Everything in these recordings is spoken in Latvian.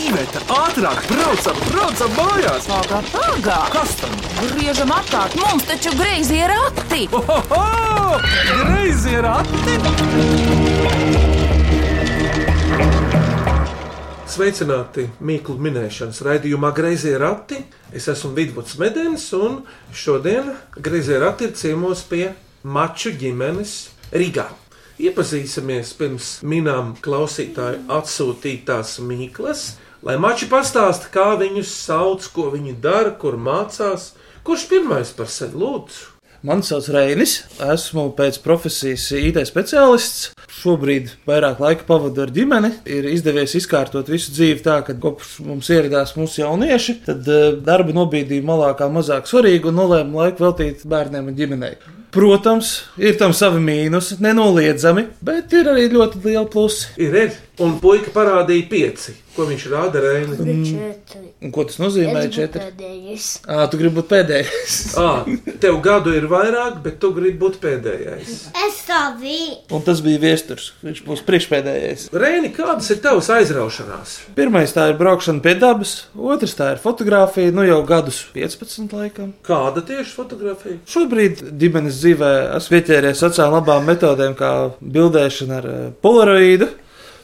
Iveta, ātrāk, braucam, braucam mājās! Pagā, pagā! Kas tam? Griežam atkārt, mums taču greizi ir rati! Oho! Greizi ir atti! Sveicināti Mīklu minēšanas raidījumā Greizie rati. Es esmu Vidvuds Medens, un šodien Greizie rati ir ciemos pie Maču ģimenes Rīgā. Iepazīsimies pirms minām klausītāju atsūtītās mīklas, lai mači pastāsta, kā viņus sauc, ko viņi dara, kur mācās, kurš pirmais par sevi lūdzu. Mani sauc Reinis, esmu pēc profesijas IT speciālists. Šobrīd vairāk laika pavadu ar ģimeni. Ir izdevies izkārtot visu dzīvi tā, ka kopš mums ieradās mūsu jaunieši, tad eh, darba nobīdīja malā kā mazāk svarīgu un nolēma laiku veltīt bērniem un ģimenei. Protams, ir tam savi mīnusi, nenoliedzami, bet ir arī ļoti liela plusi. Ir, ir, un puika parādīja pieci, ko viņš rāda Rēnam. Četri. Un ko tas nozīmē? Es Četri. pēdējais. Ā, tu gribi būt pēdējais. Ah, tev gadu ir vairāk, bet tu gribi būt pēdējais. Es tā biju. Un tas bija viesturs. Viņš būs priekšpēdējais. Rēni, kādas ir tavas aizraušanās? Pirmais tā ir braukšana pie dabas, otrs tā ir fotografija, nu jau gadus 15 laikam. Kāda tieši fotografija? Šobrīd ģimenes dzīvē esmu pieķēries vecām labām metodēm, kā bildēšana ar eh, polaroīdu.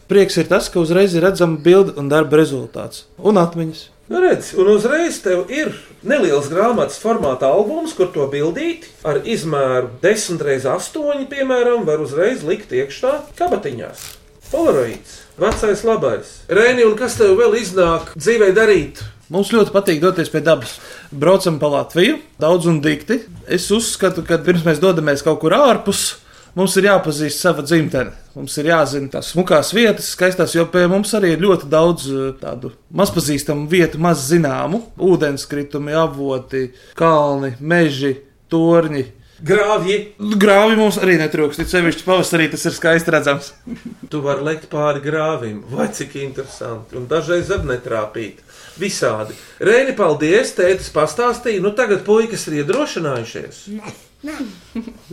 Prieks ir tas, ka uzreiz ir redzama bilde un darba rezultāts un atmiņas. Nu, redz, un uzreiz tev ir neliels grāmatas formāta albums, kur to bildīt ar izmēru 10 x 8, piemēram, var uzreiz likt iekšā kabatiņās. Polaroids, vecais labais. Rēni, un kas tev vēl iznāk dzīvē darīt? Mums ļoti patīk doties pie dabas. Braucam pa Latviju, daudz un dikti. Es uzskatu, ka pirms mēs dodamies kaut kur ārpus, mums ir jāpazīst sava dzimtene. Mums ir jāzina tās smukās vietas, skaistās, jo pie mums arī ir ļoti daudz eh, tādu mazpazīstamu vietu, maz zināmu. Ūdenskritumi, avoti, kalni, meži, torņi. Grāvji! Grāvi mums arī netrūkst, it sevišķi pavasarī tas ir skaisti redzams. Tu vari lekt pāri grāvim, vai cik interesanti, un dažreiz arī netrāpīt. Visādi. Rēni, paldies, tētis pastāstīja, nu tagad puikas ir iedrošinājušies. Nē, nē.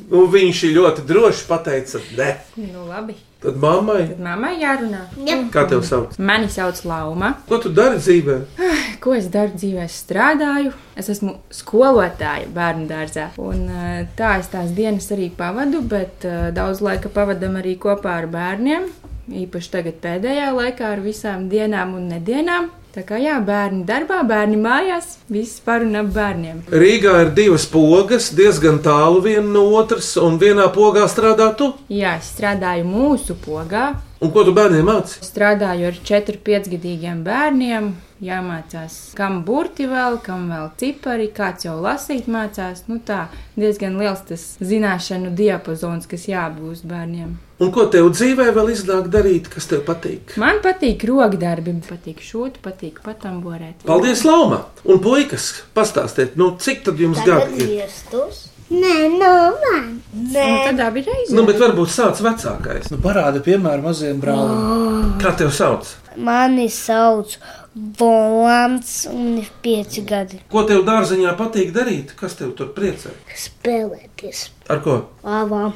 Nu, viņš ir ļoti droši pateica, nē. Nu, labi. Tad mammai, Tad mammai jārunā. kā tev sauc? Mani sauc Lauma. Ko tu dari dzīvē? Ko es daru dzīvē? Es strādāju. Es esmu skolotāja bērnu dārzā. Un eh, tā es tās dienas arī pavadu, bet eh, daudz laika pavadam arī kopā ar bērniem. Īpaši tagad pēdējā laikā ar visām dienām un nedēļām. Tā kā jā, bērni darbā, bērni mājās, viss par un ap bērniem. Rīgā ir divas pogas, diezgan tālu viena no otras, un vienā pogā strādā tu. Jā, es strādāju mūsu pogā, Un ko tu bērniem māci? Strādāju ar 4-5 gadīgiem bērniem, jāmācās, kam burti vēl, kam vēl cipari, kāds jau lasīt mācās. Nu tā, diezgan liels tas zināšanu diapazons, kas jābūt bērniem. Un ko tev dzīvē vēl iznāk darīt, kas tev patīk? Man patīk rokdarbi, patīk šūt, patīk patamborēt. Paldies, Lapa! Un, puikas, pastāstiet, nu, cik tad jums Tagad gadi ir? viestus. Nē, no man. Nē. Un tad abi reizes. Nu, bet varbūt sācis vecākais. Nu, parāda piemēru maziem brāliem. Kā tev sauc? Mani sauc Volants un ir pieci gadi. Ko tev dārziņā patīk darīt? Kas tev tur priecē? Spēlēties. Ar ko? Labā.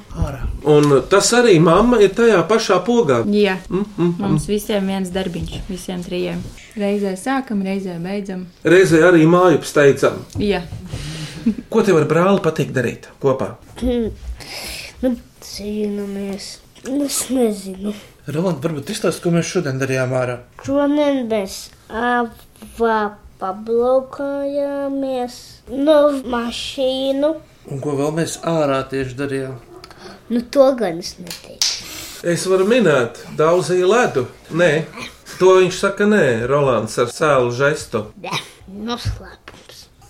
Un tas arī mamma ir tajā pašā pogā. Jā, Mm, mm. mums visiem viens darbiņš, visiem trijiem. Reizē sākam, reizē beidzam. Reizē arī māju steidzam. Jā, Ko tev ar brāli patīk darīt kopā? Nu, cīnāmies. Nu, Es nezinu. Roland, varbūt izstāsti, ko mēs šodien darījām ārā. Šodien mēs avā pabraukājāmies no Nu, mašīnu. Un ko vēl mēs ārā tieši darījām? Nu, to gan es neteiktu. Es varu minēt, daudzīju ledu. Nē, to viņš saka, nē, Rolands ar sēlu žestu. Nē, noslēpums.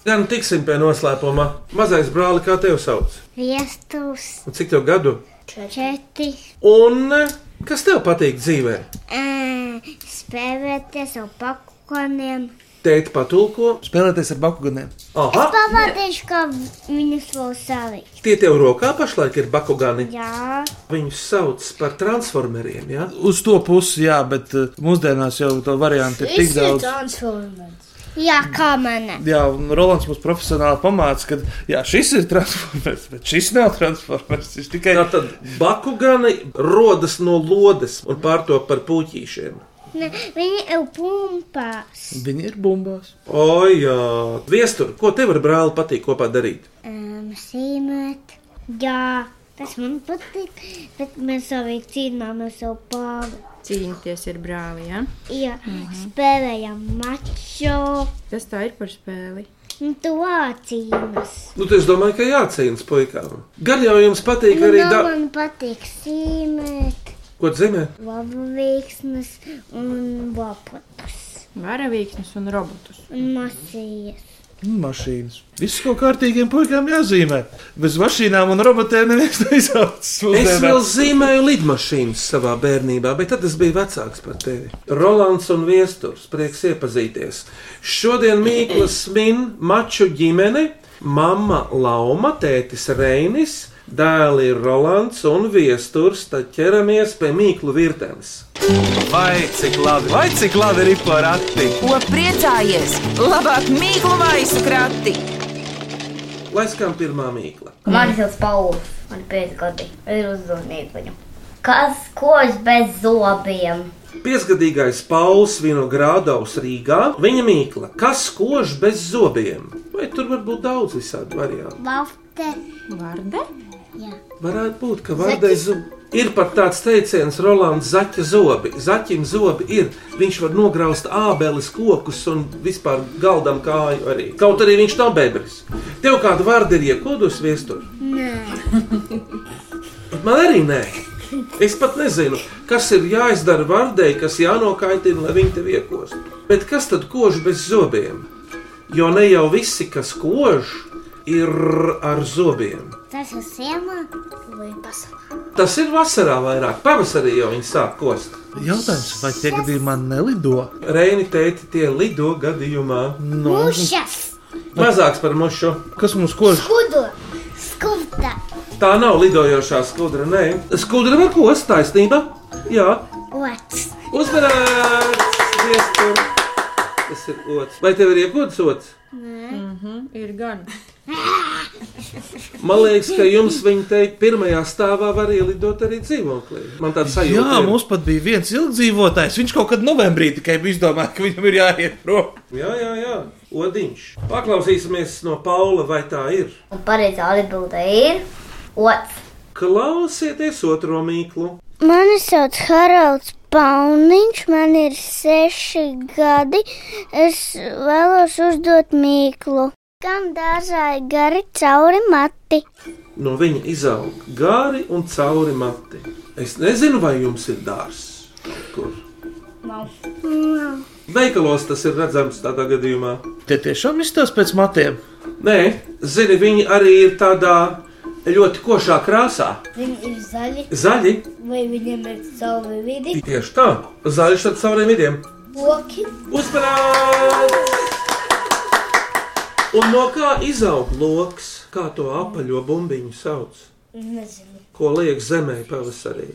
Gan tiksim pie noslēpuma. Mazais brāli, kā tev sauc? Viestus Un cik tev gadu? četri. Un eh, kas tev patīk dzīvē? Ē, Spēlēties ar pakoniem. Tēti patulko. Spēlēties ar bakuganiem. Aha! Pavadīšu, kā viņus vēl savikt. Tie tev rokā pašlaik ir bakugani. Jā, Viņus sauc par transformeriem. Ja? Uz to pusi, jā, bet eh, mūsdienās jau to variantu ir tik daudz. transformēts. Jā, kā mana. Jā, un Rolands mums profesionāli pamāca, ka jā, šis ir transformers, bet šis nav transformers. Viņš tikai Tātad bakugani rodas no lodes un pārto par puķīšiem. Ne, viņi jau pumpās. Viņi ir bumbās. O, jā, viestur, ko tev ar brāli patīk kopā darīt? Um, sīmēt. Jā, tas man patīk, bet mēs arī cīnāmies jau pāri. Cīnīties ir brāli, ja? Jā, spēlējam mačo. Tas tā ir par spēli. Un tu vācīnas. Nu, tad es domāju, ka jācīnās puikām. Gan jau jums patīk Nu, arī da... da... man patīk sīmēt, Ko dzimē? labavīksnes un lopatus. Varavīksnes un robotus. Un masījas. Mm, Mašīnas. Viss kaut kārtīgiem puikām jāzīmē. Bez mašīnām un robotiem neviens neizaugs. Es vēl zīmēju lidmašīnas savā bērnībā, bet tad es biju vecāks par tevi. Rolands un Viesturs, prieks iepazīties. Šodien Mīklas min maču ģimene, mama Lauma, tētis Reinis, dēli ir Rolands un Viesturs, tad ķeramies pie Mīklu virtenes. Vai cik labi, vai cik labi ir porati? Ko priecājies? Labāk mīklu maisu krati. Lai skan pirmā mīkla. Mani sauc Pauls, man ir 5 gadi. Es uzzvanīju viņam. Kas kož bez zobiem? Piesgadīgais Pauls Vinogradovs Rīgā, viņa mīkla, kas kož bez zobiem. Vai tur var būt daudz visādi varianti? Lafte. Varde? Varētu būt, ka vārdai zubi. Ir pat tāds teiciens, Rolands Zaķa zobi. Zaķim zobi ir. Viņš var nograust ābeles kokus un vispār galdam kāju arī. Kaut arī viņš nav bebris. Tev kāda vārda ir iekodus viestur? Nē. Bet man arī nē. Es pat nezinu, kas ir jāizdara vārdai, kas jānokaitina, lai viņi tev iekostu. Bet kas tad kož bez zobiem? Jo ne jau visi, kas kož, ir ar zobiem. Tas ir siemā vai pasaulē. Tas ir vasarā vairāk, pavasarī jau viņi sāk kost. Jautājums, vai tie gadījumā nelido? Reini teica, tie lido gadījumā No, Pušas! mazāks par mušu. kas mums kož? Kudu! Skumta! Tā nav lidojošā skudra, nē. Skudra var kost taisnība. Jā, Ots! uzmanīgs! Viestur. Tas ir otrs. Vai tev ir iekods otrs? Ir gan. Man liekas, ka jums viņa teikt, pirmajā stāvā var ielidot arī dzīvoklī. Man tāds sajūta. Jā, ir. mums pat bija viens ilgdzīvotājs. Viņš kaut kad novembrī tikai bija izdomājis, ka viņam ir jāiet prom. Jā, jā, jā. Odiņš. Paklausīsimies no Paula, vai tā ir. Un pareizā atbildē ir otrs. Klausieties otro mīklu. Mani sauc Haralds Pauniņš, man ir seši gadi. Es vēlos uzdot mīklu. Kam dārzā ir gari cauri mati? No viņa izaug gāri un cauri mati. Es nezinu, vai jums ir dārsts. Kur? Veikalos tas ir redzams tādā gadījumā. Tie tiešām izstāsta pēc matiem. Nē, zini, viņi arī ir tādā ļoti košā krāsā. Viņi ir zaļi, Zaļi, vai viņiem ir savi vidi, tieši tā, zaļš ar cauriem vidiem. koki? Uzmanības! Un no kā izaug lokus, kā to apaļo bumbiņu sauc? Nezinu. ko liek zemē pavasarī.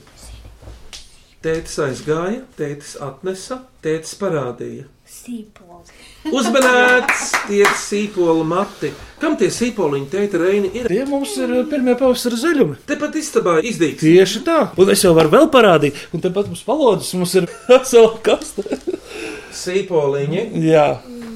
Tētis aizgāja, tētis atnesa, tētis parādīja. Sīpols. Uzmanīts, tie ir sīpoli mati. Kam tie sīpoliņi, tēti Reini, ir? Tie mums ir eh, pirmie pavasara zaļumi. Tepat istabā izdīgs. Tieši tā. Un es jau varu vēl parādīt, un tepat mums palodzes mums ir vesela kasta. Sīpoliņi. Jā,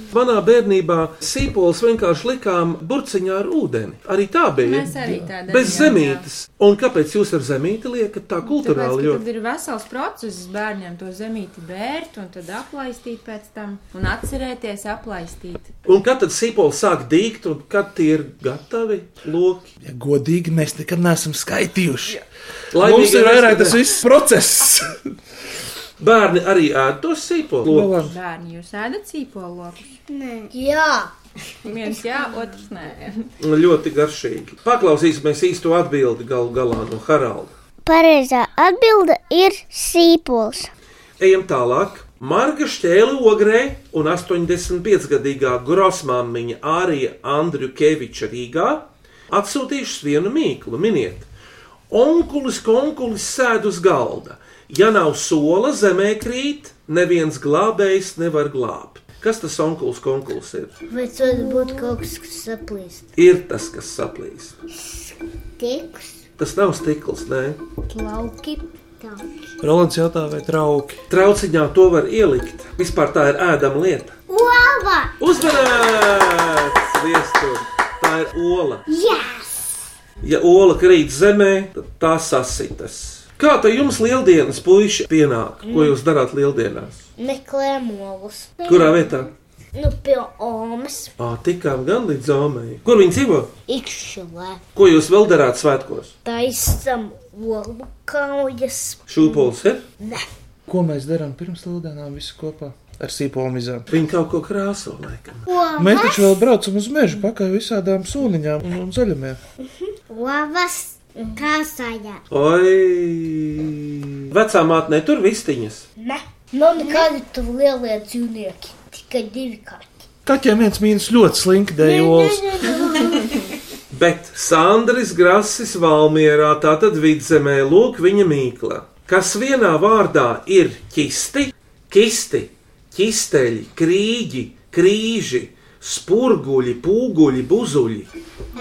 Manā bērnībā sīpols vienkārši likām burciņā ar ūdeni. Arī tā bija. Mēs arī tādā Bez zemītes. Un kāpēc jūs ar zemīti liekat tā Tāpēc, kultūrāli? ka Jo... tad ir vesels process bērniem to zemīti bērt un tad aplaistīt pēc tam un atcerēties aplaistīt. Un kad tad sīpols sāk dīkt un kad tie ir gatavi loki? ja godīgi mēs nekad neesam skaitījuši. Lai Laimīgi mums ir vairāk mēs- tas viss process. Bērni arī ēd to sīpolu. Nu, labi. Bērni, jūs ēdat sīpolokus? Jā. Viens jā, otrs nē. Ļoti garšīgi. Paklausīsimies īsto atbildi galu galā no Haralda. Pareizā atbilde ir sīpols. Ejam tālāk. Marga šķēli ogrē un 85-gadīgā grosmāmiņa Ārija Andriukeviča Rīgā atsūtījušas vienu mīklu. Miniet, onkulis konkulis sēd uz galda. Ja nav sola zemē krīt, neviens glābējs nevar glābt. Kas tas onkulis konkulis ir? Vai tas būtu kaut kas, kas saplīst? Ir tas, kas saplīs. Tiks, Tas nav stikls, nē. plauki, Rolands jautā, vai trauki. Trauciņā to var ielikt. Vispār tā ir ēdama lieta. Uova! Uzmanīgs! Viestur! Tā ir ola. Jā! Ja ola krīt zemē, tad tā sasitas. Kā tā jums lieldienas puiši pienāk? Ko jūs darāt lieldienās? Meklējam olus. Kurā vietā? Nu, pie omas Ā, tikām gan līdz zomei. Kur viņi dzīvo? ikšķelē. Ko jūs vēl darāt svētkos? Taisam olu kaujas. Šūpols ir? Ko mēs darām pirms lieldienām visi kopā? Ar sīpolām izām. Viņi kaut ko krāso laikam. Mēs taču vēl braucam uz mežu pakaļ visādām sūniņām un, un zaļumiem. Ovas krāsājā. Oi! Vecā māte netur vistiņas. Ne. Man kādi tur lielie dzīvnieki. Tikai divi kārti. Kaķiem viens mīnus ļoti slinki dēļos. Bet Sandris Grasis Valmierā, tātad vidzemē, lūk viņa mīkla, kas vienā vārdā ir kisti, kisti, ķisteļi, krīģi, krīži, spurguļi, pūguļi, buzuļi.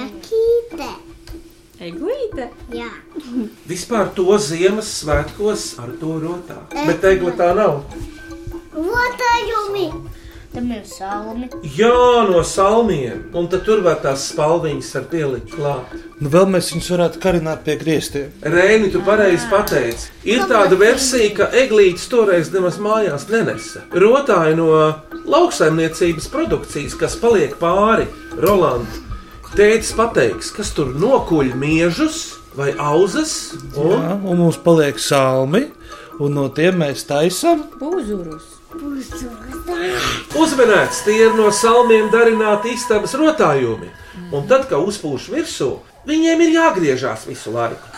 Akīte. Eglīte! Jā. Vispār to Ziemassvētkos ar to rotā. Bet egla tā nav. Otājumi. Tam ir salmi. Jā, no salmiem, un tad tur var tās spalviņas ar pielikt klāt. Nu, vēl mēs viņus varētu karināt pie griestiem. Rēni, tu pareizi pateici. Ir tāda versija, ka eglītis toreiz nemaz mājās nenesa. Rotāja no lauksaimniecības produkcijas, kas paliek pāri Rolandam. Tētis pateiks, kas tur nokuļ miežus vai auzas. Un... Jā, un mums paliek salmi, un no tiem mēs taisām. Pūzurus! Uzmanēts, tie ir no salmiem darināti istabas rotājumi. Un tad, kad uzpūš virsū, viņiem ir jāgriežās visu laiku.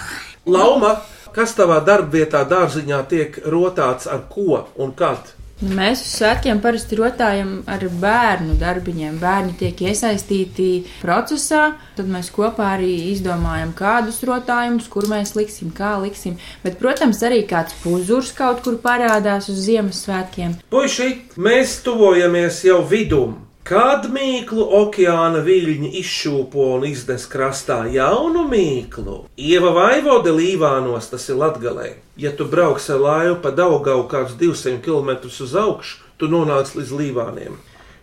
Lauma, kas tavā darbvietā, dārziņā tiek rotāts ar ko un kad? Nu, Mēs uz svētkiem parasti rotājam ar bērnu darbiņiem. Bērni tiek iesaistīti procesā, tad mēs kopā arī izdomājam, kādus rotājumus, kur mēs liksim, kā liksim. Bet, protams, arī kāds puzurs kaut kur parādās uz Ziemassvētkiem. Puiši, mēs tuvojamies jau vidum. Kad mīklu okeāna viļņi izšūpo un iznes krastā jaunu mīklu, Ieva Vaivode Līvānos, tas ir Latgalē. Ja tu brauks ar laivu pa Daugau kāds 200 km uz augšu, tu nonāc līdz Līvāniem.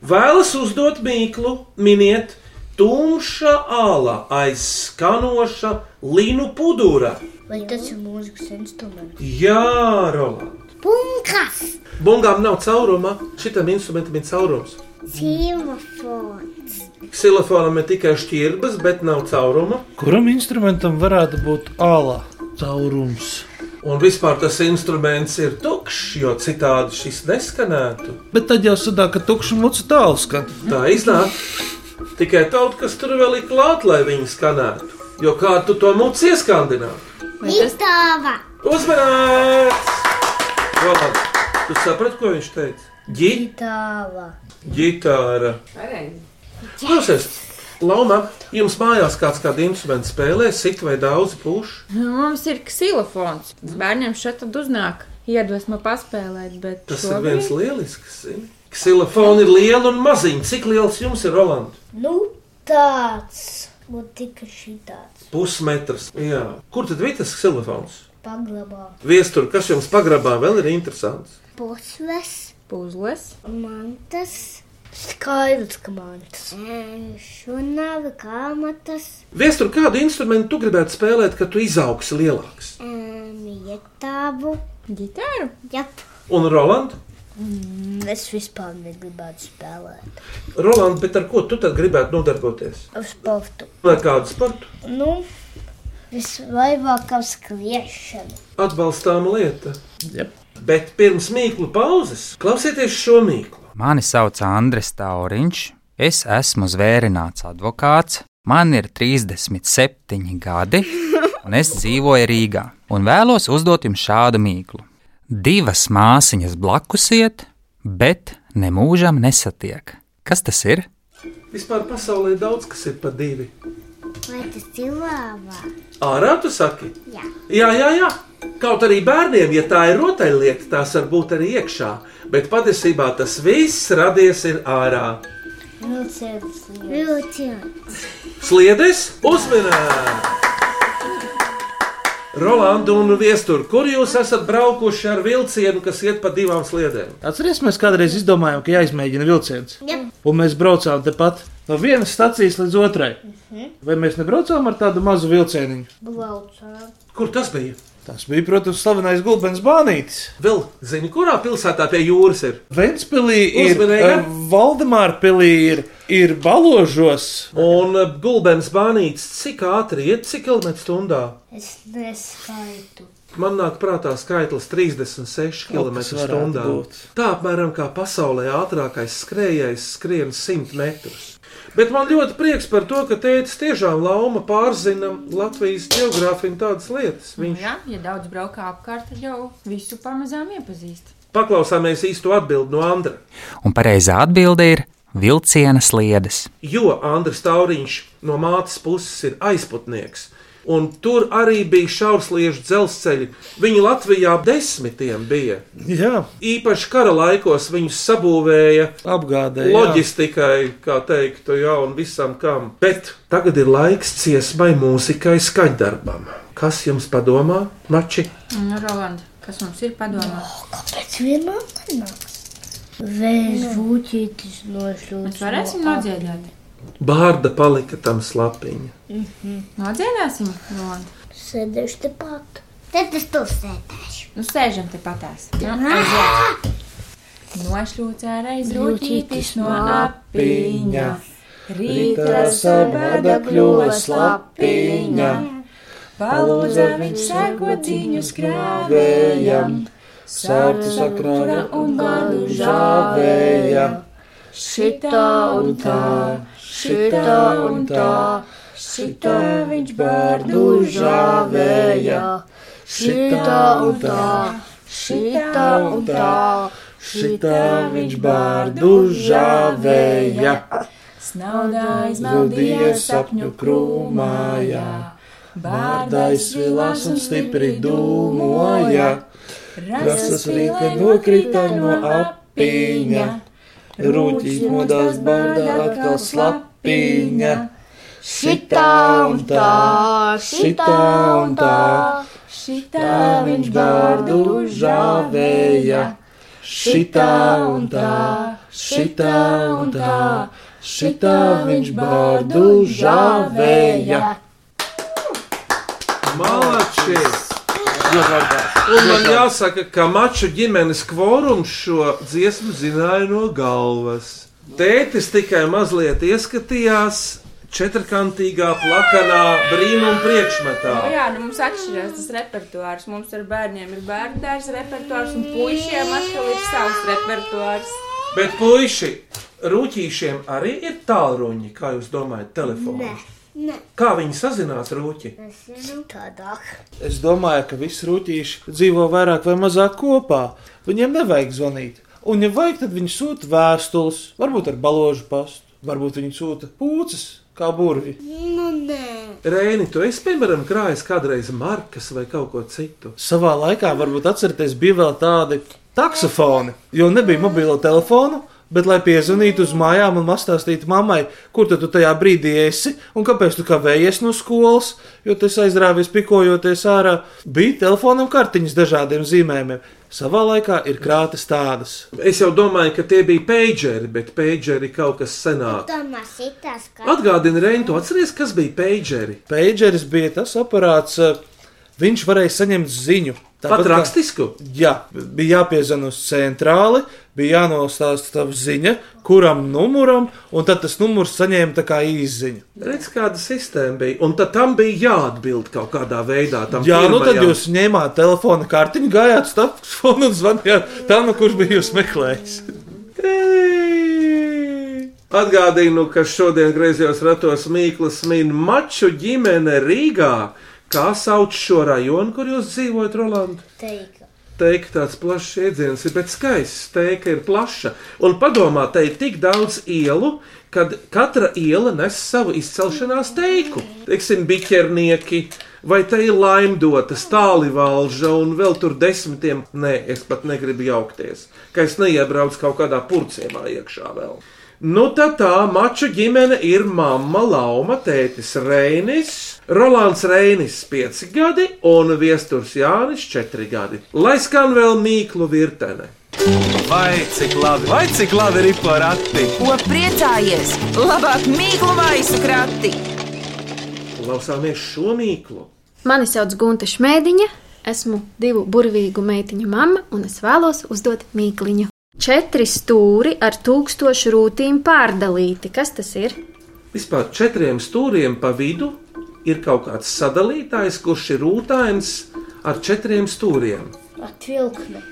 Vēlas uzdot mīklu, miniet, tumša āla aiz skanoša linu pudura. Vai tas ir mūzikas instruments? Jā, Rola! Punkas. Bungām nav cauruma, šitam instrumentam ir caurums. Silofons. Silofonam ir tikai šķirbas, bet nav cauruma. Kuram instrumentam varētu būt ālā caurums? Un vispār tas instruments ir tukšs, jo citādi šis neskanētu. Bet tad jau sudā, ka tukša muca tālu skan. Tā iznāk. Tikai kaut kas tur vēl ir klāts, lai viņi skanētu. Jo kā tu to mūci ieskandinātu? Vai tas Itāva. Uzmanīgs! Roland, tu saprati, ko viņš teica? Gi, Itāva. ģitāra. Klausies, Lama, jums mājās kāds kādu instrumentu spēlē, sit vai daudzi puši? nu, mums ir ksilofons. Bērniem šeit tad uznāk iedvesma paspēlēt, bet Tas ir viens lielisks. zini. Ksilofoni ir lieli un maziņi. Cik liels jums ir Rolands? Nu, tāds. Un tika šitāds. Pusmetrs. Jā. Kur tad bija tas ksilofons? Paglabā. Viestur, kas jums pagrabā vēl ir interesants? Pusves. puzles. Mantas. Skaidrs, ka mantas. Šunāvi kā matas. Viestur, kādu instrumentu tu gribētu spēlēt, kad tu izaugsi lielāks? Mietāvu. Gitāru? Jā. Un Rolands? Es vispār negribētu spēlēt. Roland, bet ar ko tu tad gribētu nodarboties? Ar sportu. Ar kādu sportu? Nu, visvairāk ar skriešanu. Atbalstāma lieta. Jep. Bet pirms mīklu pauzes klausieties šo mīklu. Mani sauc Andris Tauriņš, es esmu zvērināts advokāts, man ir 37 gadi, un es dzīvoju Rīgā. Un vēlos uzdot jums šādu mīklu. Divas māsiņas blakus iet, bet ne mūžam nesatiek. Kas tas ir? Vispār pasaulē ir daudz kas ir pa divi. Vai tas ir lāvā? Ārā tu saki? Jā. Jā, jā, jā. Kaut arī bērniem, ja tā ir rotaļlieta, tās var būt arī iekšā. Bet patiesībā tas viss radies ir ārā. Vilciens. Vilciens. Sliedes uzmanīgi! Rolanda un Viestur, kur jūs esat braukuši ar vilcienu, kas iet pa divām sliedēm? Atcerieties, mēs kādreiz izdomājām, ka jāizmēģina vilciens. Jā. Un mēs braucām tepat no vienas stācijas līdz otrai. Vai mēs nebraucām ar tādu mazu vilcieniņu? Blaucā. Kur tas bija? Tas bija, protams, slavenais Gulbens Bānītis. Vēl zini, kurā pilsētā pie jūras ir? Ventspēlī ir Uzmanīga. Valdemāra pilī, ir, ir baložos. Un eh, gulbens bānīts, cik ātri iet, cik kilometru stundā? Es neskaitu. Man nāk prātā skaitlis 36 Kaut km kas varētu stundā. būt. Tā apmēram kā pasaulē ātrākais skrejējs skrien 100 metrus. Bet man ļoti prieks par to, ka tēvs tiešām lauma pārzina Latvijas geogrāfiju un tādas lietas. Viņš Jā, ja daudz braukā apkārt, tad jau visu pamazām iepazīst. paklausāmies īsto atbildi no Andra. Un pareizā atbilde ir vilciena sliedes. Jo Andris Tauriņš no mātes puses ir aizputnieks. Un tur arī bija šaursliežu dzelzceļi. Viņi Latvijā desmitiem bija. Jā, Īpaši kara laikos viņus sabūvēja apgādē. jā. loģistikai, kā teiktu, jā, un visam kam. Bet tagad ir laiks ciesmai, mūzikai, skaņdarbam. Kas jums padomā, Mači? Nu, Roland, kas mums ir padomā? Kāpēc vienmēr nenāks? Nu. Vējš būtītis nošūts. Mēs varēsim nodziedāt. Bārda palika tam slapiņa. Nodziedāsim, Roland. Sēdēšu tepat. Tad es to sēdēšu. Nu, sēžam te patās. Nu, aiziet. Nošļūcē reiz rūtītis no apiņa. Rītā sabada kļuva slapiņa. Palūdza viņš sēkociņu skrāvējam. Sārtu sakrāja un gadu žāvēja. Šitā un tā, šitā un tā, šitā viņš bērnu žāvēja. Šitā un tā, šitā un tā, šitā viņš bērnu žāvēja. Snaudā izmaldījies sapņu krūmājā, bārdais vilās un stipri dūmoja, rasas rīka nokrita no apiņa, rūtīs modās bārdā atkal slapiņa. Šitā un tā, šitā un tā, šitā viņš bārdu žāvēja, šitā un tā, šitā un tā. Šitā viņš bārdu žāvēja. Malačis! Un man jāsaka, ka maču ģimenes kvorums šo dziesmu zināja no galvas. Tētis tikai mazliet ieskatījās četrkantīgā, plakanā brīnuma priekšmetā. Jā, nu mums atšķirās tas repertuārs. Mums ar bērniem ir bērnu dārza repertuārs, un puikiem atkal ir savs repertuārs. Bet, puiši, rūtīšiem arī ir tālruņi, kā jūs domājat, telefonā. Nē. Kā viņi sazinās rūķi? Tādāk. Es domāju, ka visi rūtīši dzīvo vairāk vai mazāk kopā. Viņiem nevajag zvanīt. Un, ja vajag, tad viņi sūta vēstules, varbūt ar baložu pastu, varbūt viņi sūta pūces, kā burvi. Nu, nē. Rēni, tu esi, piemēram, krājis kādreiz markas vai kaut ko citu. Savā laikā, varbūt atcerieties, bija vēl tādi taksofoni, jo nebija mobilo telefonu. Bet, lai piezvanītu uz mājām un pastāstītu mammai, kur tad tu tajā brīdī esi un kāpēc tu kavējies no skolas, jo tas aizrāvies pikojoties ārā, bija telefonam kartiņas dažādiem zīmējumiem. Savā laikā ir krātas tādas. Es jau domāju, ka tie bija pēģeri, bet pēģeri kaut kas senāk. Tomā šitā skatā. Atgādini, Reini, tu atceries, kas bija pēģeri? Pēģeris bija tas aparāts, eh, viņš varēja saņemt ziņu. Tāpat Pat kā- rakstisku? Jā, bija jāpiezvan uz centrāli, bija jānostāsta tā ziņa, kuram numuram, un tad tas numurs saņēma tā kā īziņu. Redz, kāda sistēma bija. Un tad tam bija jāatbild kaut kādā veidā. tam Jā, nu tad pirmajam. jūs ņēmāt telefona kartiņu, gājāt uz telefonu un zvanījāt tam, no kurš bija jūs meklējis. Ei! Atgādinu, nu, ka šodien griezījos ratos Mīklas min maču ģimene Rīgā. Kā sauc šo rajonu, kur jūs dzīvojat, Roland? Teika. Teika tāds plašs jēdziens, ir, bet skaists. Teika ir plaša. Un padomā, te ir tik daudz ielu, kad katra iela nes savu izcelšanās teiku. Teiksim, biķernieki, vai te ir laimdota, stāli valža un vēl tur desmitiem. Nē, es pat negribu jaukties, ka es neiebraucu kaut kādā purcēmā iekšā vēl. Nu, tad tā maču ģimene ir mamma, lauma, tētis Reinis, Rolands Reinis, 5 gadi un viesturs Jānis, 4 gadi. Lai skan vēl mīklu virtene. Vai cik labi, vai cik labi ir pa rati? Ko priecājies? Labāk mīklu maisu krati! Klausāmies šo mīklu. Mani sauc Gunta Šmētiņa, esmu divu burvīgu meitiņu mamma un es vēlos uzdot mīkliņu. Četri stūri ar tūkstošu rūtīm pārdalīti. Kas tas ir? Vispār četriem stūriem pa vidu ir kaut kāds sadalītājs, kurš ir rūtājs ar četriem stūriem. Atvilkne.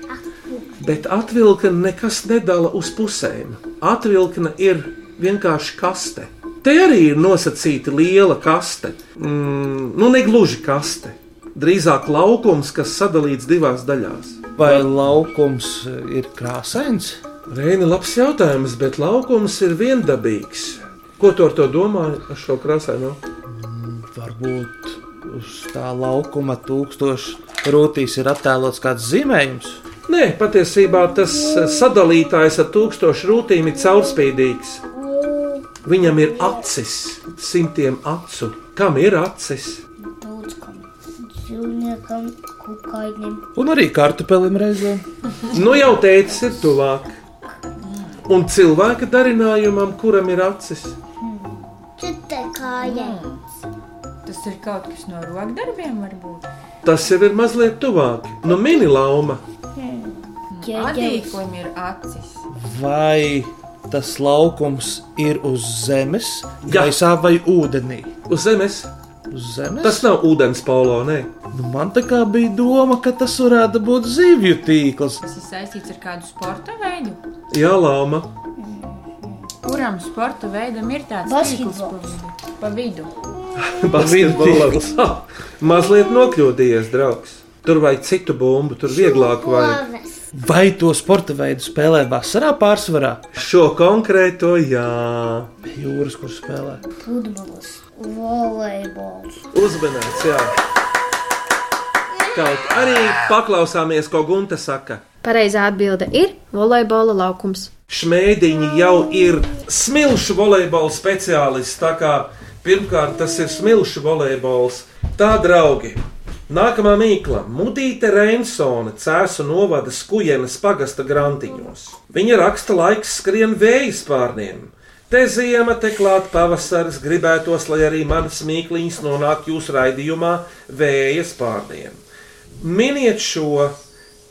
Bet atvilkne nekas nedala uz pusēm. Atvilkne ir vienkārši kaste. Te arī ir nosacīta liela kaste. Mm, nu, ne gluži kaste. Drīzāk laukums, kas sadalīts divās daļās. Vai laukums ir krāsains? Reini, labs jautājums, bet laukums ir viendabīgs. Ko tu ar to domā ar šo krāsaino? Varbūt uz tā laukuma tūkstoša rūtīs ir attēlots kāds zīmējums. Nē, patiesībā tas eh, sadalītājs ar tūkstošu rūtīm ir caurspīdīgs. Viņam ir acis, simtiem acu. Kam ir acis? Daudz kam. Dzīvniekam, kukainim. Un arī kartupelim reizē. Nu jau teicis, ir tuvāk. Un cilvēka darinājumam, kuram ir acis, Cita kāja. Tas ir kaut kas no rokdarbiem, varbūt. tas jau ir mazliet tuvāk. Nu, mini lauma, Adīklim ir acis. Vai tas laukums ir uz zemes, Jā. gaisā vai ūdenī? uz zemes. Uz zemes. Tas nav ūdens polo, nē. Nu, man tā kā bija doma, ka tas varētu būt zivju tīkls. Tas ir saistīts ar kādu sporta veidu. Jā, lauma. Kuram sporta veidam ir tāds Basketbols. tīkls pa vidu? pa vidu? Basketbols. Mazliet nokļūdījies, draugs. Tur vajag citu bumbu, tur vieglāk vajag. Plavas. Vai to sporta veidu spēlē vasarā pārsvarā? Šo konkrēto, jā. Pie Jūras, kur spēlē. Futbols. Volejbols. Uzmanīts, jā. Kaut arī paklausāmies, ko Gunta saka. Pareizā atbilde ir volejbola laukums. Šmētiņi jau ir smilšu volejbola speciālists. Tā kā pirmkārt tas ir smilšu volejbols. Tā, draugi, nākamā mīkla - Mudīte Reinsone, Cēzu novada skujienes pagasta grantiņos. Viņa raksta laiks skrien vēja spārniem. Te ziema, te klāt pavasaris, gribētos, lai arī manas mīkliņas nonāk jūsu raidījumā vēja spārniem. Miniet šo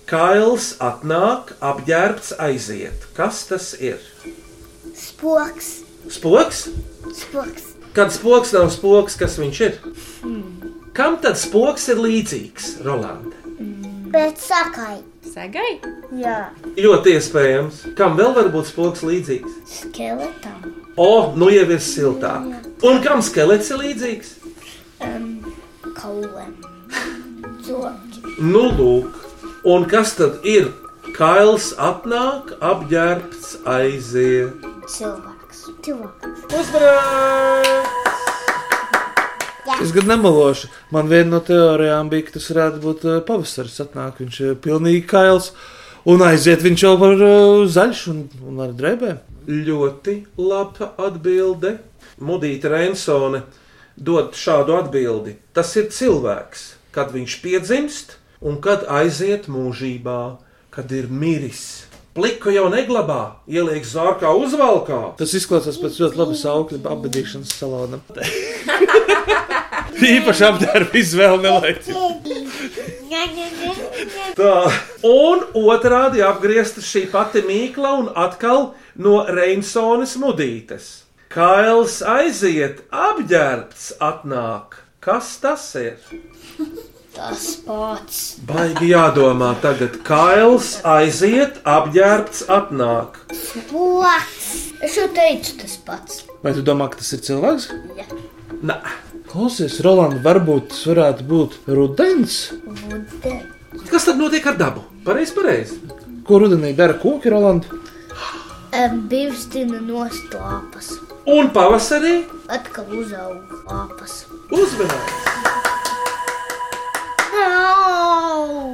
Kails atnāk, apģērbts aiziet. Kas tas ir? Spoks. Spoks? Spoks. Kad spoks nav spoks, kas viņš ir? Kam tad spoks ir līdzīgs, Rolanda? Bet sakai. Sagai? Jā. Ļoti iespējams. Kam vēl var būt spoks līdzīgs? Skeletam. O, nu jau ir siltāk. Un kam skelets ir līdzīgs? Kaulam. Zoki. Nu, lūk. Un kas tad ir? Kails atnāk, apģērbts aiziet. Cilvēks. Cilvēks. Uzmanīgi! Es gan nemalošu. Man viena no teorijām bija, ka tas varētu būt eh, pavasaris. Atnāk, viņš ir pilnīgi kails. Un aiziet viņš jau var eh, zaļš un, un ar drēbēm. Ļoti laba atbilde. Mudita Rensone dod šādu atbildi. Tas ir cilvēks, kad viņš piedzimst un kad aiziet mūžībā, kad ir miris. Pliku jau neglabā, ieliek zārkā uzvalkā. Tas izklausās pēc ļoti labas augļa apbedīšanas salona. Īpaši apģērba izvēle nelaicīga. Tā. Un otrādi apgriezta šī pati mīkla un atkal no Reinsonas mudītes. Kails aiziet, apģērbts atnāk. Kas tas ir? Tas pats. Baigi jādomā, tagad kails aiziet, apģērbts, atnāk. Spoks. Es jau teicu tas pats. Vai tu domā, ka tas ir cilvēks? Nā, Klausies, Roland, varbūt tas varētu būt rudens. Vudē. kas tad notiek ar dabu? Pareizi, pareizi. Ko rudenī dara koki, Roland? Em, Bivstina nost lapas. Un pavasarī Atkal uzauga lapas. uzmanības.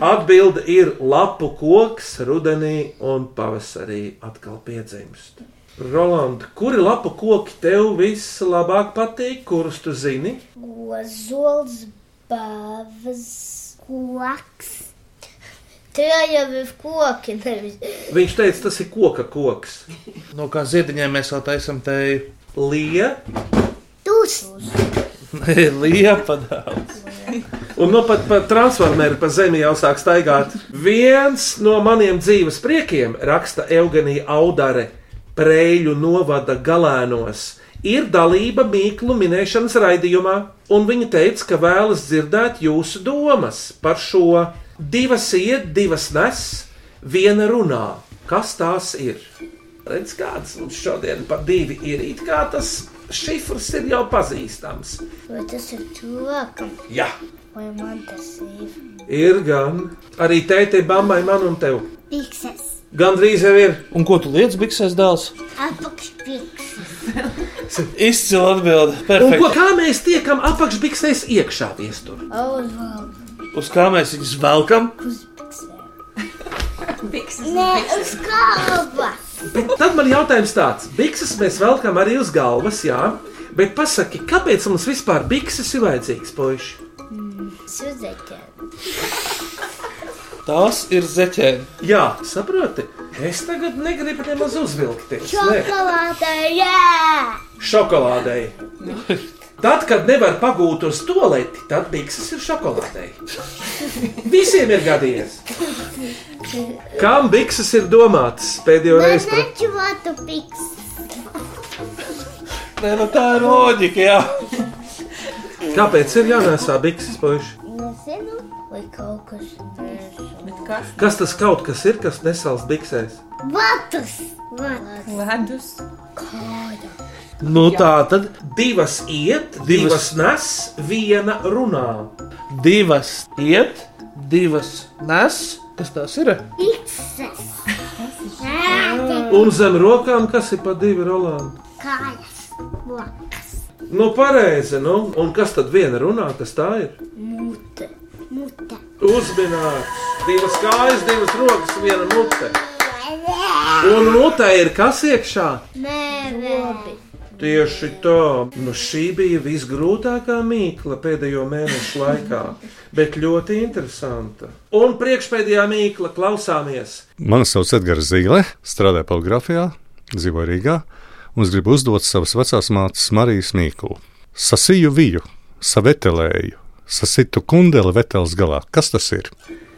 Atbilde ir lapu koks rudenī un pavasarī atkal piedzimst. Rolanda, kuri lapu koki tev vislabāk patīk, kurus tu zini? Ozols, bāvas, koks. Tie jau ir koki, nevis Viņš teica, tas ir koka koks. No kā ziediņiem mēs vēl taisām te Lija, tūs. liepa daudz. un no pat par transformeru pa zemi jau sāk staigāt. Viens no maniem dzīves priekiem, raksta Eugenija Audare, Prēļu novada galēnos, ir dalība mīklu minēšanas raidījumā, un viņa teica, ka vēlas dzirdēt jūsu domas par šo divas iet, divas nes, viena runā. Kas tās ir? Redz, kāds mums šodien par divi ir. It kā tas šifrs ir jau pazīstams. Vai tas ir cilvēkam? Jā, Vai man tas ir? ir gan. Arī tētim, mammai, man un tev. Pikses. Gan drīz jau ir. Un ko tu liec, biksēs dēls? Apakšpikses. Izcila atbilde. Un ko, Perfekti. kā mēs tiekam apakšbiksēs iekšā viesturā? Ozols. Uz kā mēs viņus velkam? Nē, uz galva. Bet tad man jautājums tāds: bikses mēs velkam arī uz galvas, jā. Bet pasaki, kāpēc mums vispār bikses ir vajadzīgs, puiši? Suzēķē. Tās ir zeķēni. Jā, saproti. Es tagad negribu nemaz uzvilkties. Nē. Šokolādē, jā! šokolādei. Tad, kad nevar pagūt uz toleti, tad bikses ir šokolādei. Visiem ir gadījies. Kam bikses ir domātas pēdējo Es reizi? Par... nezinu, ko tu pikses. Nē, nu tā ir loģika, jā. Kāpēc ir jānēsā bikses? Puiši? Nezinu, vai kaut kas tāds. Kas tas kaut kas ir, kas nesals biksēs? Vatus! Vatus! Ledus. Nu tā tad Divas iet, divas, divas Divas. nes, viena runā. divas iet, divas nes. Kas tās ir? Pikses! Nē, Un zem rokām, kas ir pa divi rolāni? kājas! Vakas! Nu, pareizi, nu, un kas tad viena runā, kas tā ir? Mute! Mute! Uzminēts, divas kājas, divas rokas, viena mute. Un mutē ir kas iekšā? Mēvēbi! Tieši tā. Nu, šī bija visgrūtākā mīkla pēdējo mēnešu laikā, bet ļoti interesanta. Un priekšpēdējā mīkla klausāmies. Mani sauc Edgars Zīle, strādāju poligrāfijā, dzīvoju Rīgā un es gribu uzdot savas vecās mātes Marijas Mīklu. Sasīju viju, savetelēju, sasitu kundeli vetels galā. Kas tas ir?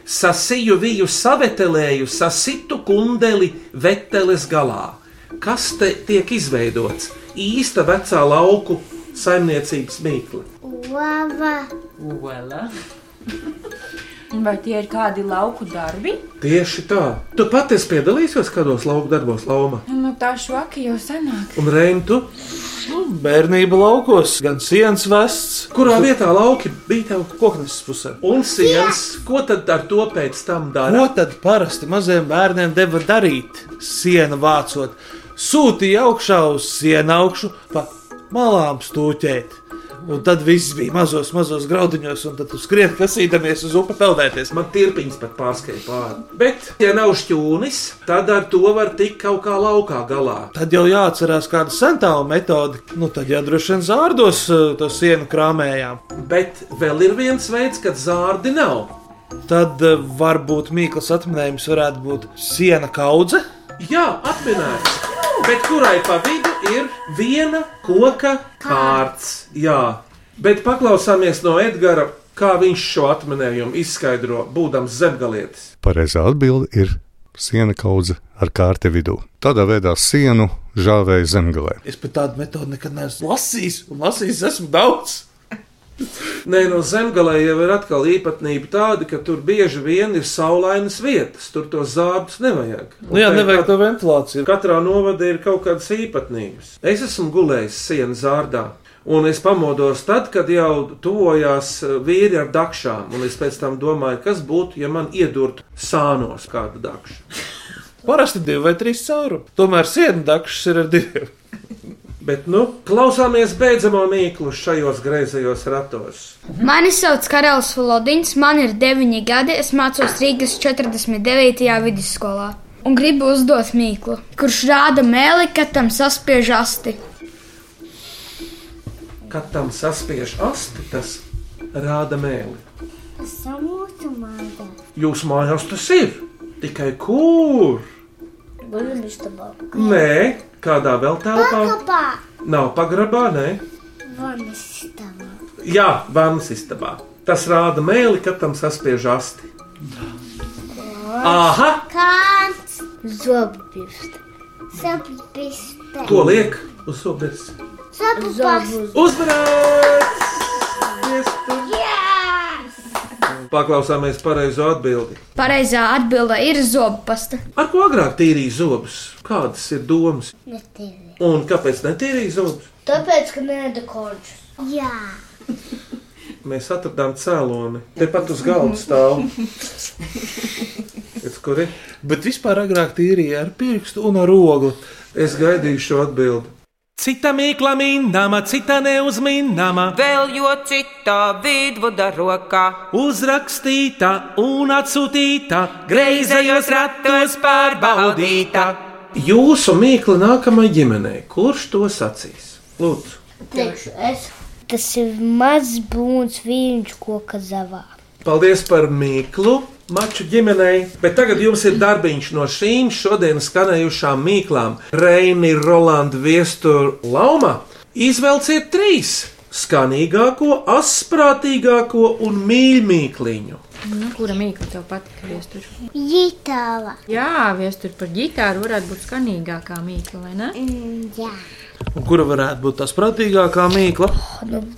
Sasiju viju savetelēju, sasitu kundeli veteles galā. Kas te tiek izveidots? Īsta vecā lauku saimniecības mīkla. Lava! Uela. Vai tie ir kādi lauku darbi? Tieši tā. Tu pati esi piedalījusies kādos lauku darbos, Lapa. Nu, tā švaki jau senāk. Un Reintu, Nu, bērnība laukos, gan sienas vests, kurā vietā lauki bija tev? koknes pusē. Un sienas, ko tad ar to pēc tam Ko dara? tad parasti maziem bērniem deva darīt? Sienu vācot, sūtīja augšā uz sienu augšu, pa malām stūķēt. Un tad viss bija mazos, mazos graudiņos, un tad tu skrieni kasīdamies uz upi peldēties. Man tirpiņas pat pārskrēja pāri. Bet, ja nav šķūnis, tad ar to var tikt kaut kā laukā galā. Tad jau jāatcerās kāda centāla metode. Nu, tad jau droši vien zārdos eh, to sienu krāmējām. Bet vēl ir viens veids, kad zārdi nav. Tad eh, varbūt Mīklas atminējums varētu būt siena kaudze. Jā, apvienāts. Bet kurai pa vidu ir viena koka kārts? Jā, bet paklausāmies no Edgara, kā viņš šo atminējumu izskaidro, būdams zemgalietis. Pareizā atbilde ir siena kaudze ar kārti vidū. Tādā veidā sienu žāvēja zemgalē. Es pat tādu metodi nekad neesmu lasījis, un lasījis esmu daudz. Nē, no zemgālē jau ir atkal īpatnība tāda, ka tur bieži vien ir saulainas vietas, tur tos zābus nevajag. Nu, jā, Un te nevajag kat- to ventilāciju. Katrā novada ir kaut kādas īpatnības. Es esmu gulējis sienas zārdā. Un es pamodos tad, kad jau tuvojās eh, vīri ar dakšām. Un es pēc tam domāju, kas būtu, ja man iedurtu sānos kādu dakšu. Parasti divi vai trīs caurumi. Tomēr sienu dakšas ir ar diviem. Bet, nu, klausāmies beidzamo mīklu šajos greizajos ratos. Mani sauc Karls Falodins, man ir 9 gadi, es mācos Rīgas 49. vidusskolā. un gribu uzdot mīklu, kurš rāda mēli, ka tam saspiež asti. Kad tam saspiež asti, tas rāda mēli. Tas ir mūsu māja. Jūs mājās tas ir. Tikai kur? Guļamistabā. Nē, kādā vēl telpā? Pakapā. Nav pagrabā, nē. Vanistabā. Jā, vannas istabā. Tas rāda mēli, kad tam saspiež asti. Aha! Kāds? Zobpista. Zobpista. To liek uz sobes. Zobpista. Uzmanīgs! Paklausāmies pareizo atbildi. Pareizā atbilde ir zobpasta. Ar ko agrāk tīrīja zobus? Kādas ir domas? Netīvi. Un kāpēc netīrīja zobus? Tāpēc, ka nēda korķus. Jā. Mēs atradām cēloni. Tepat uz galda stāv. Redz, Kur ir? Bet vispār agrāk tīrīja ar pirkstu un ar ogli. Es gaidīju šo atbildi. Cita mīkla mīnāma, cita neuzmīnāma, Vēl jo citā vidvuda rokā, uzrakstīta un atsūtīta, greizējos ratos pārbaudīta. Jūsu mīkla nākamajai ģimenei, kurš to sacīs? Lūdzu, Teikšu es. Tas ir mazs būns viņš koka zavā. paldies par mīklu! Maču ģimenei, bet tagad jums ir darbiņš no šīm šodienas skanējušām mīklām. Reini, Rolanda, Viestura, Lauma. Izvelciet trīs - skanīgāko, asprātīgāko un mīļākliņu. Nu, kura mīkla tev patika? Viestur? Jitāla. Jā, viestur par ģitāru varētu būt skanīgākā mīkla, vai ne? Mm, jā. Un kura varētu būt tā sprātīgākā mīkla?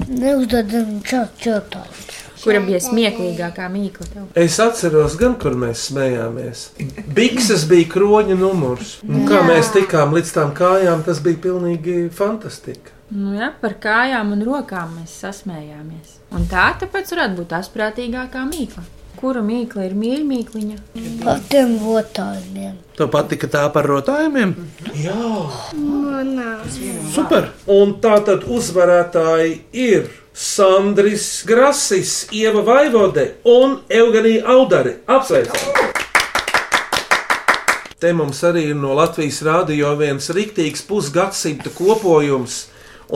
Neuzdodam čautājumu. Kura bija smieklīgākā mīkla tev? Es atceros, gan kur mēs smējāmies. Bikses bija kroņa numurs. Un kā mēs tikām līdz tām kājām, tas bija pilnīgi fantastika. Nu, jā, par kājām un rokām mēs sasmējāmies. Un tā tāpēc varētu būt asprātīgākā mīkla. Kura mīkla ir mīļākā? Ar tiem votājiem. Tev patika tā par rotājumiem? Jā, Super! un tā tad uzvarētāji ir Sandris Grasis, Ieva Vaivode un Eugenija Audari. Apsveicam! Te mums arī ir no Latvijas rādio viens rīktīgs pusgadsimta kopojums,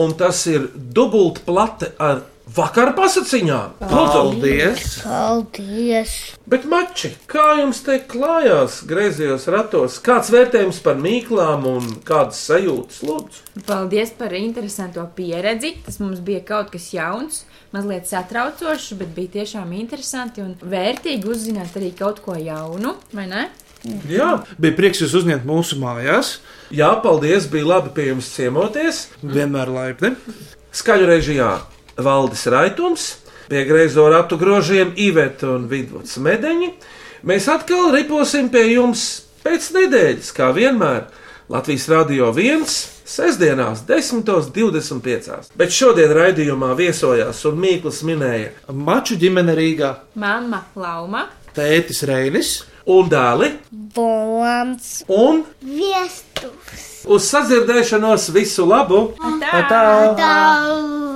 un tas ir dubultplate ar vakar pasakaņām. Lūdzu! Paldies! Paldies! Bet, mači, kā jums te klājās griezījos ratos? Kāds vērtējums par mīklām un kādas sajūtas? Lūdzu, Paldies par interesantu pieredzi. Tas mums bija kaut kas jauns, mazliet satraucošs, bet bija tiešām interesanti un vērtīgi uzzināt arī kaut ko jaunu, vai ne? jā, Bija prieks jūs uzņemt mūsu mājās. jā paldies, bija labi pie jums ciemoties. Vienmēr laipni. Skaļu režijā Valdis Raitums, pie griezo ratu grožiem Iveta un Vidvuds Medeņi. Mēs atkal riposim pie jums pēc nedēļas, kā vienmēr. Latvijas Rādio 1, sestdienās, 10.25. Bet šodien raidījumā viesojās un Mīkls minēja Maču ģimene Rīgā. Mama, lauma, Tētis Reinis. un dēli Volants! un Viestus! Uz sadzirdēšanos visu labu! tā. Tā! Tavā!